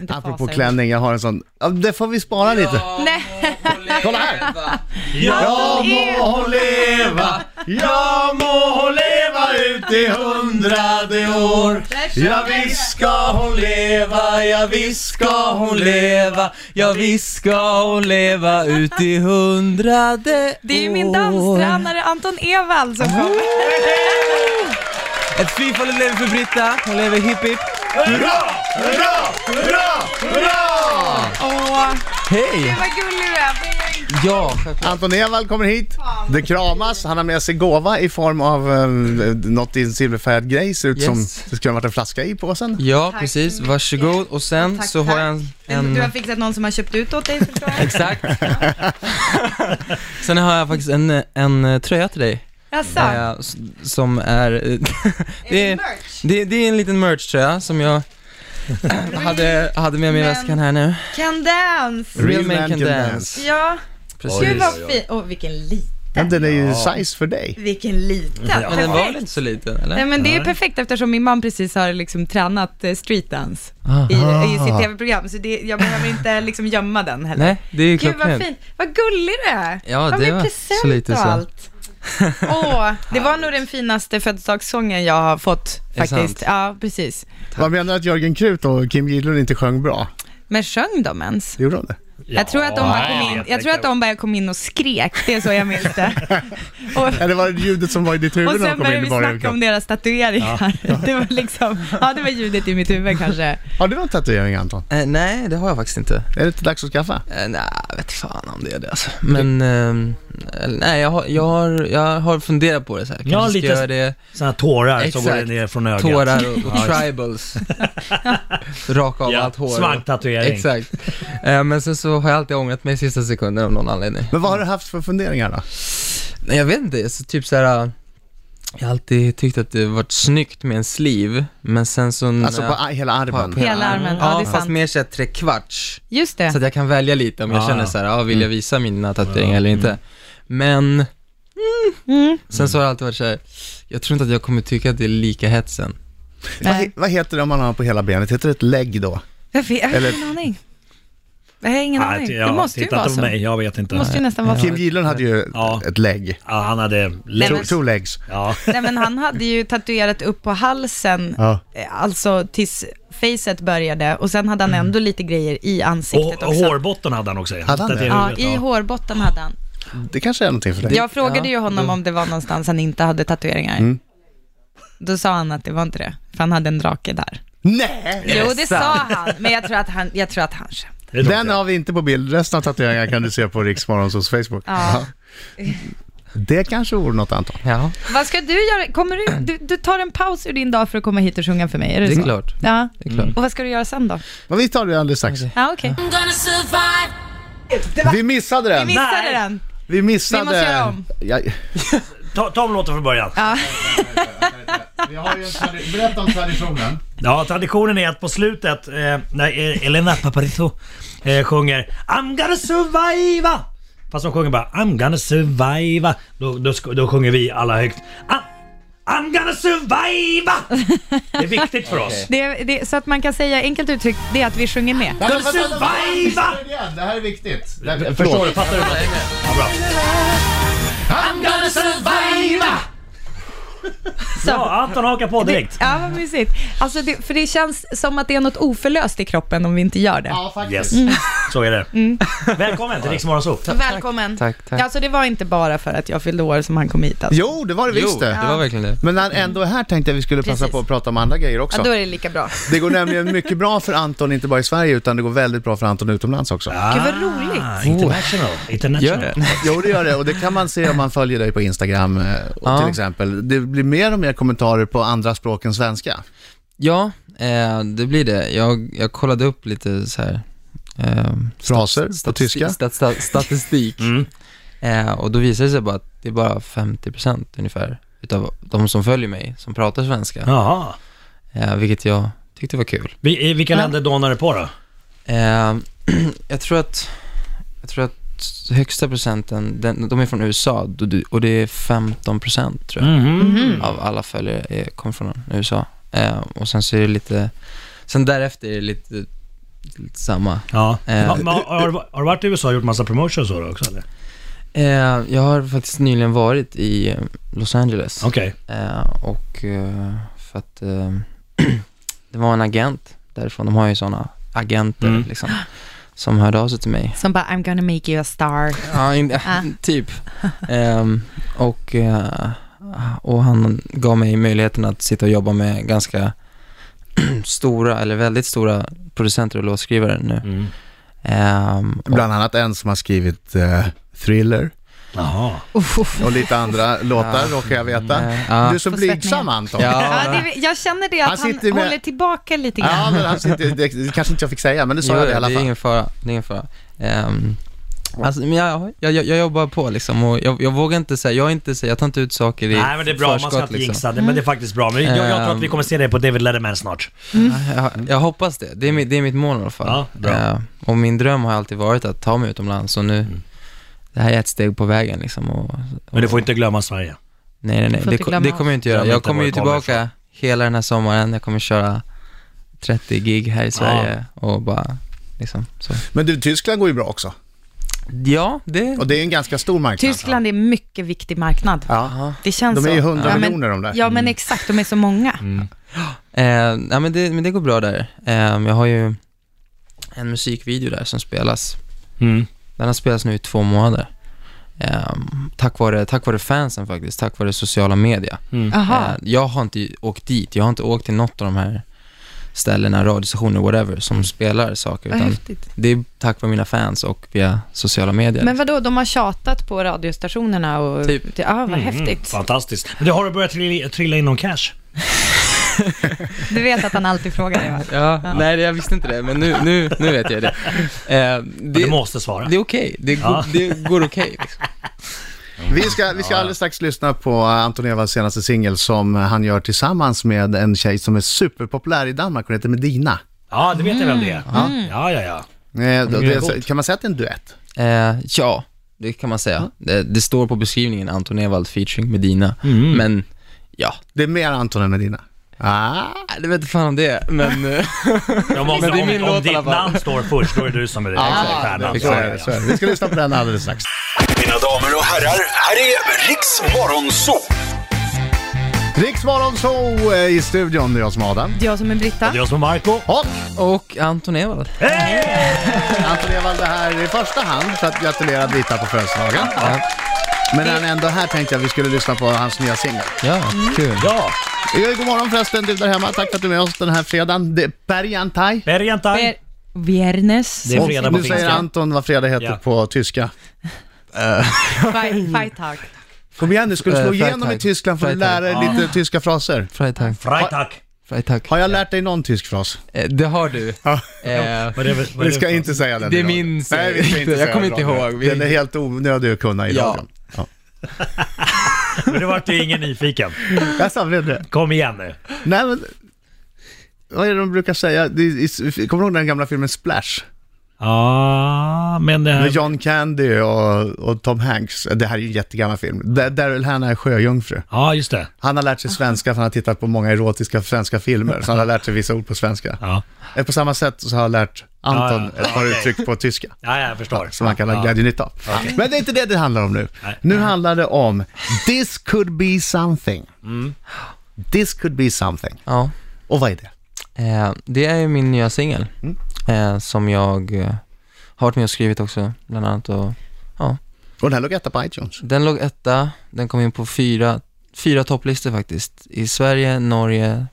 inte Apropå fasar. klänning, jag har en sån. Ja, det får vi spara lite. Nej. Kolla här! Ja, må hon leva, ja må hon leva ut i hundrade år. Ja, visst ska hon leva, ja visst ska hon leva, ja visst ska hon leva ut i hundrade Det är ju min danstränare Anton Ewald som kommer. Ett fyrfaldigt lever för Britta, hon lever hipp hipp. Hurra, hurra, hurra, hurra! Åh, Hej! vad gullig du är. Ja, självklart. Anton Ewald kommer hit, det kramas, han har med sig gåva i form av eh, något i en silverfärgad grej, ser ut Yes. som det skulle ha varit en flaska i påsen. ja Tack precis, så mycket. varsågod. Och sen Tack, så har jag en... tack. Men Du har fixat någon som har köpt ut åt dig förstår jag. Exakt. sen har jag faktiskt en, en eh, tröja till dig. Jaså? eh, s- som är... eh, det, det är merch? det, det är en liten merch-tröja som jag hade, hade med mig i Men- väskan här nu. Can dance! Real man can dance. Ja, gud Precis. vad fin. Åh, vilken liten. Men den är ju size för dig. Vilken liten. Men den var väl Perfekt. inte så liten Nej eller? men det är perfekt eftersom min man precis har liksom tränat eh, streetdance Ah. i, i sitt Ah. tv-program så det, jag behöver inte liksom gömma den heller. Nej, det är Gud vad klockrent. fint, vad gullig du är! Ja, Vad det med var present så lite och så. allt. Åh, det var nog den finaste födelsedagssången jag har fått Är det faktiskt. Ja, precis. Vad menar du att Jörgen Krut och Kim Gidlund inte sjöng bra? Men sjöng de ens? Gjorde de det? jag tror att de bara kom in, jag tror att de bara kom in och skrek, det är så jag minns det. Och, Eller var det ljudet som var i ditt huvud Och när de sen kom började in vi i bara snacka om överkropp? deras tatueringar. Det var liksom, ja det var ljudet i mitt huvud kanske. Har du någon tatuering Anton? Eh, nej, det har jag faktiskt inte. Är det inte dags att skaffa? Eh, nej, jag vet fan om det är det alltså. Men, ehm, eller nej, jag har, jag, har, jag har funderat på det så här. Kanske Ja, ska lite jag göra det, Sådana tårar Exakt. som går ner från ögat. tårar och, och tribals. Raka av Ja, allt hår. svanktatuering. Exakt. Eh, men sen så har jag alltid ångrat mig i sista sekunden av någon anledning. Men vad har du haft för funderingar Mm, då? Nej, jag vet inte, så typ så här. eh, Jag har alltid tyckt att det varit snyggt med en sleeve, men sen så... när Alltså på jag- a- hela armen? på Hela armen, ja, det är Ja, fast sant. mer såhär trekvarts. Just Så att det. jag kan välja lite om jag Ja, känner ja. Mm. så här, ja, vill jag visa mina tatueringar eller inte? Men, Mm. sen så har det alltid varit så här, jag tror inte att jag kommer tycka att det är lika hetsen. Vad, Nej. he- vad heter det om man har på hela benet? Heter det ett lägg då? Jag vet- jag har Eller- ingen aning. Jag har ingen Nej, aning. ja, Det måste ju titta vara inte så. på mig, jag vet Det inte. måste ju nästan vara så. Kim Gidlund hade ju Ja. ett lägg. Ja, han hade... Two, men- two legs. Ja. Nej men han hade ju tatuerat upp på halsen, Ja. eh, alltså tills facet började och sen hade han ändå lite grejer i Och, ansiktet och också. hårbotten hade han också. Hade han det? Ja, i hår... hårbotten hade han. Det kanske är någonting för dig. Jag frågade ju ja, honom då- om det var någonstans han inte hade tatueringar. Då sa han att det var inte det, för han hade en drake där. Nej! Jo, det sa han, men jag tror att han, jag tror att han skämtade. Den har vi inte på bild. Resten av tatueringarna kan du se på Riksmorgonsols Facebook. Ja. Ja. Det kanske vore något Anton. Ja, Vad ska du göra? Kommer du, du, du tar en paus ur din dag för att komma hit och sjunga för mig, är det, det så? är klart. Ja. Det är klart. Och vad ska du göra sen då? Men vi tar det alldeles strax. Ja, okej. I'm gonna survive. Vi missade Vi den! missade Nej. den. Vi missade... Vi måste göra om. Jag... Ta, ta om låten från början. Ja. Vi har ju en tradi- Berätta om traditionen. Ja, traditionen är att på slutet, eh, när eh, Elena Paparito eh, sjunger I'm gonna surviva Fast hon sjunger bara I'm gonna surviva Då, då, sk- då sjunger vi alla högt I'm, I'm gonna surviva Det är viktigt för oss. Det, det, så att man kan säga, enkelt uttryckt, det är att vi sjunger med. Nej, men vänta, vänta, vänta, vänta, vänta, Det här är viktigt. Förstår du? Fattar du? Ja, bra. I'm gonna survive! Så. Ja, Anton hakar på direkt. Ja, vad mysigt. Alltså det, för det känns som att det är något oförlöst i kroppen om vi inte gör det. Ja, faktiskt. Yes, så är det. Välkommen till Rix Morgonzoo. Välkommen. Tack, tack. Alltså det var inte bara för att jag fyllde år som han kom hit. Alltså. Jo, det var det visst det. det var verkligen det. Men när han ändå är här tänkte jag vi skulle passa Precis. på att prata om andra grejer Ja, också. då är det lika bra. Det går nämligen mycket bra för Anton, inte bara i Sverige, utan det går väldigt bra för Anton utomlands också. Gud vad roligt. Ah, international. Gör international. det? Jo, det gör det. Och det kan man se om man följer dig på Instagram, eh, Ja. till exempel. Det blir mer och mer kommentarer på andra språk än svenska. Ja, eh, det blir det. Jag, jag kollade upp lite så här. Eh, Fraser på stati- tyska. stat- stat- statistik. Mm. Eh, och då visade det sig bara att det är bara 50% ungefär utav de som följer mig som pratar svenska. Jaha. Eh, vilket jag tyckte var kul. Vi- I vilka länder dånar det på då? Eh, jag tror att, jag tror att högsta procenten, den, de är från USA då du- och det är 15 procent tror jag, Mm-hmm. av alla följare Ehm, är, kommer från USA. Eh, och sen så är det lite, sen därefter är det lite lite samma. Ja. Eh. Ma, ma, har, har du varit i USA och gjort massa promotions och så då också eller? Eh, jag har faktiskt nyligen varit i eh, Los Angeles. Okej. Eh, och eh, för att eh, det var en agent därifrån, de har ju sådana agenter Mm. liksom, som hörde av sig till mig. Som bara, I'm gonna make you a star. Ja, in, Ah. typ. Ehm, och, eh, och han gav mig möjligheten att sitta och jobba med ganska stora, eller väldigt stora producenter och låtskrivare nu. Mm. Ehm, och, Bland annat en som har skrivit eh, Thriller Jaha. och lite andra låtar, råkar jag veta. eh, ja. Du är så Får blygsam svettningar. Anton. Ja. Ja, det, jag känner det att Han han, sitter med- håller tillbaka lite grann. Ja, men alltså, det, det, det kanske inte jag fick säga, men det sa jag det i alla det är fall. ingen fara. Det är ingen fara. Ehm, alltså, men jag, jag, jag, jag jobbar på liksom och jag, jag vågar inte säga, jag är inte säga, jag tar inte ut saker i Nej men det är bra, man ska förskott, liksom. inte jinxa det, men det är faktiskt bra. Men jag, jag tror att vi kommer se dig på David Letterman snart. Jag, jag hoppas det. Det är, mitt, det är mitt mål i alla fall. Ja, bra. Eh, och min dröm har alltid varit att ta mig utomlands och nu, Mm. det här är ett steg på vägen liksom. Och, och, Men du får inte glömma Sverige. Nej, nej, nej. Du får Det, inte ko- glömma det kommer jag inte göra. oss. Jag Jag vet kommer inte ju var du kommer tillbaka hela den här sommaren. Jag kommer köra 30 gig här i Sverige och bara liksom så. Men du, Tyskland går ju bra också. Ja, det... Och det är en ganska stor marknad. Tyskland är en mycket viktig marknad. Ja. Det känns De är så. ju 100 ja, men, miljoner de där. Ja, men exakt. De är så många. Eh, nej, men det, men det går bra där. Eh, jag har ju en musikvideo där som spelas. Mm. Den har spelats nu i två månader. Eh, tack, vare, tack vare fansen faktiskt, tack vare sociala media. Jaha. Eh, jag har inte åkt dit, jag har inte åkt till något av de här ställena, radiostationer, whatever, som spelar saker. Vad Utan häftigt. det är tack vare mina fans och via sociala medier. Men vadå, de har tjatat på radiostationerna och... Typ. Ja, vad Mm, häftigt. Fantastiskt. Men du, har du börjat trilla, trilla in någon cash? Du vet att han alltid frågar det, va? ja, Nej, jag visste inte det, men nu, nu, nu vet jag det. Eh, Men det, du måste svara. det är okej, det, går- Ja. det går okej. liksom. Vi ska, vi ska alldeles strax lyssna på eh, Anton Evas senaste singel som han gör tillsammans med en tjej som är superpopulär i Danmark. Hon heter Medina. Ja, det vet jag vem det är. Ja, ja, ja. Eh, då- det är det- coolt. Kan man säga att det är en duett? Eh, ja, det kan man säga. Det, det står på beskrivningen Anton Ewald featuring Medina, men ja, Det är mer Anton än Medina. Ah. jag vet inte fan om det är, men eh, Jag måste, Men det är min om, om låt i alla fall. ditt namn står först, då är du som är Ah, stjärnan. det- Så så är är det, det, ja. så är det. Vi ska lyssna på den alldeles strax. Mina damer och herrar, här är Riks Morgonzoo! Riksmorgon så eh, i studion, det är jag som är Adam. Jag som är Britta. Det är jag som är Marco. Och och Anton Ewald. Anton Ewald är här i första hand för att gratulera Brita på födelsedagen. Men när han är ändå här tänkte jag att vi skulle lyssna på hans nya singel. Ja, kul. Ja, Eh, God morgon förresten du där hemma, tack för att du är med oss den här fredagen. Det är Perjantaj. Bergentai. Ver- Viernes. Det är fredag Och på nu säger finska. Anton vad fredag heter Ja. på tyska. Fight- fight tag. Kom igen nu, ska du slå Eh, Freitag. igenom i Tyskland får du lära dig Freitag. lite tyska fraser. Freitag, Freitag. Freitag. Har jag lärt dig någon tysk fras? Eh, det har du. Ja. Eh, Vad är det för- vad Vi är det för- ska inte säga den Det i radio. minns jag Nej, vi ska inte. Jag säga kommer den i inte radio. ihåg. Vi- Den är helt onödig att kunna i Ja. radion. Ja. Men det vart ju ingen nyfiken. Jag sa väl det. Kom igen nu. Nej men, vad är det de brukar säga? Det är- Kommer du ihåg den gamla filmen Splash? Ja, men det Med här... John Candy och, och Tom Hanks. Det här är ju en jättegammal film. Där- Daryl Hannah är sjöjungfru. Ja, just det. Han har lärt sig svenska för han har tittat på många erotiska svenska filmer. Så han har lärt sig vissa ord på svenska. Ja, Eh, På samma sätt så har jag lärt Anton Ja, ja. ett par Okej. uttryck på tyska. ja jag förstår. Som han kan ha Ja. glädjenytta av. Men det är inte det det handlar om nu. Nej. Nu handlar det om “This could be something”. Mm. “This could be something”. ja. Och vad är det? Eh, det är ju min nya singel, eh, som jag eh, har varit med och skrivit också, bland annat. Och, ja. Och den här låg etta på iTunes. Den låg etta, den kom in på fyra, fyra topplistor faktiskt. I Sverige, Norge,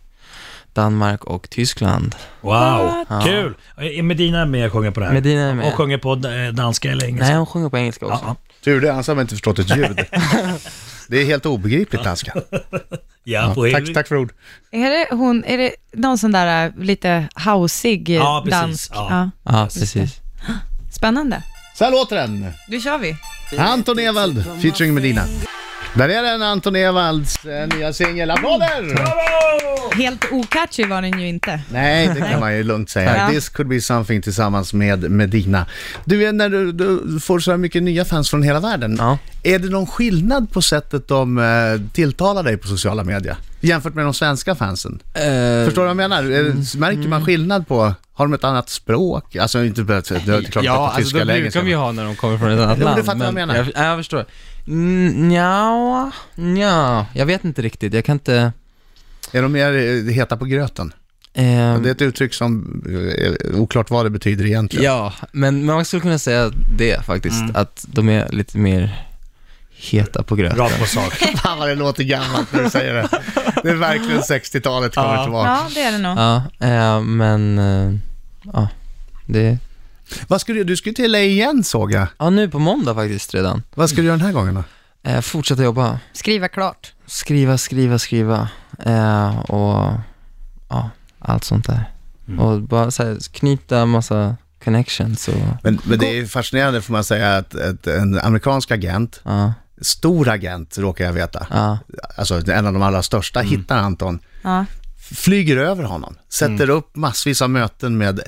Danmark och Tyskland. Wow, kul! Är Medina med och sjunger på det här? Medina är med. Och sjunger på eh, danska eller engelska? Nej, hon sjunger på engelska också. Ja, Tur det, annars har man inte förstått ett ljud. Det är helt obegripligt danska. ja. Ja, tack, tack för ord. Är det hon, är det någon sån där äh, lite hausig eh, Ja, precis. dansk? Ja. Ja, precis. Spännande. Så här låter den. Nu kör vi. Anton Ewald featuring Medina. Där är den, Anton Ewalds eh, nya singel. Applåder! Helt okatchy var den ju inte. Nej, det kan man ju lugnt säga. Ja. This could be something tillsammans med Medina. Du, eh, när du, du får så här mycket nya fans från hela världen, Ja. är det någon skillnad på sättet de eh, tilltalar dig på sociala medier jämfört med de svenska fansen? Eh, mm. Förstår du vad jag menar? Eh, Märker man skillnad på, har de ett annat språk? Alltså inte på det är klart att Ja, på alltså tyska de eller brukar engelska. vi ju ha när de kommer från ett annat Jo, du land. fattar vad jag menar. Jag, jag förstår. Mm, Nja, nja, jag vet inte riktigt. Jag kan inte... Är de mer eh, heta på gröten? ehm, Det är ett uttryck som eh, är oklart vad det betyder egentligen. ja, men man skulle kunna säga det faktiskt. Att de är lite mer heta på gröten. Rakt på sak. Fan vad det låter gammalt när du säger det. Det är verkligen 60-talet kommer Ja. tillbaka. Ja, det är det nog. Ja, eh, men... eh, Ja, det... Vad ska du, du ska ju till LA igen såg jag. Ja, nu på måndag faktiskt redan. Vad ska du göra den här gången då? Eh, fortsätta jobba. Skriva klart. Skriva, skriva, skriva. Eh, och ja, allt sånt där. Och bara så här, knyta massa connections och... Men, men det är fascinerande får man säga att att en amerikansk agent, Ja, stor agent råkar jag veta, ja. alltså en av de allra största, hittar Anton, Ja. flyger över honom, sätter upp massvis av möten med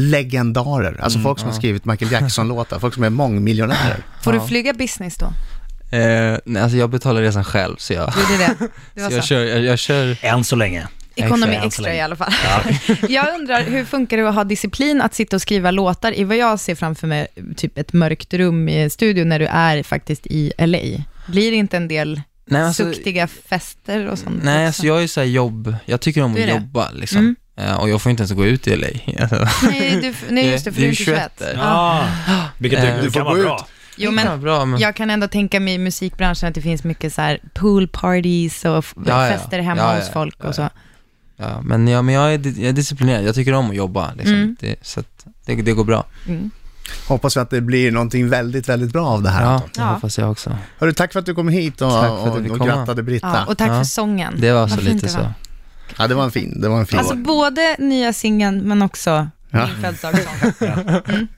legendarer, alltså folk som har skrivit Michael Jackson-låtar, folk som är mångmiljonärer. Får Ja. du flyga business då? Eh, nej, alltså jag betalar resan själv så jag, Gjorde det? Det var så jag så. kör, jag, jag kör Än så länge. Ekonomi Extra. extra i alla fall. Jag undrar, hur funkar det att ha disciplin att sitta och skriva låtar i vad jag ser framför mig, typ ett mörkt rum i en studio när du är faktiskt i LA? Blir det inte en del nej, alltså, suktiga fester och sånt? nej, också? alltså jag är så här jobb, jag tycker om Du är att det? Mm. jobba liksom. Eh, och jag får inte ens gå ut i LA. Alltså, nej, du, nej, just det, för Det du är är ju inte 21 21. där. Ja. Ja. Vilket Eh, du, du får kan vara gå bra. ut. Jo, Ja, men bra, men jag kan ändå tänka mig i musikbranschen att det finns mycket så här pool parties och f- Ja, ja. fester hemma Ja, ja. hos folk och så. Ja, men, ja, men jag, är, di- jag är disciplinerad, jag tycker om att jobba liksom. Mm. det, så att det, det går bra. Mm. Hoppas vi att det blir någonting väldigt, väldigt bra av det här. Ja, Anton. det Ja. hoppas jag också. Hörru, tack för att du kom hit och, Tack för att jag och, fick och komma. grattade Britta. Ja, och tack Ja. för sången. Det var så Vad fint lite det var. så. Ja, det var en fin, det var en fin. Alltså både nya singeln men också Ja. min födelsedagssång.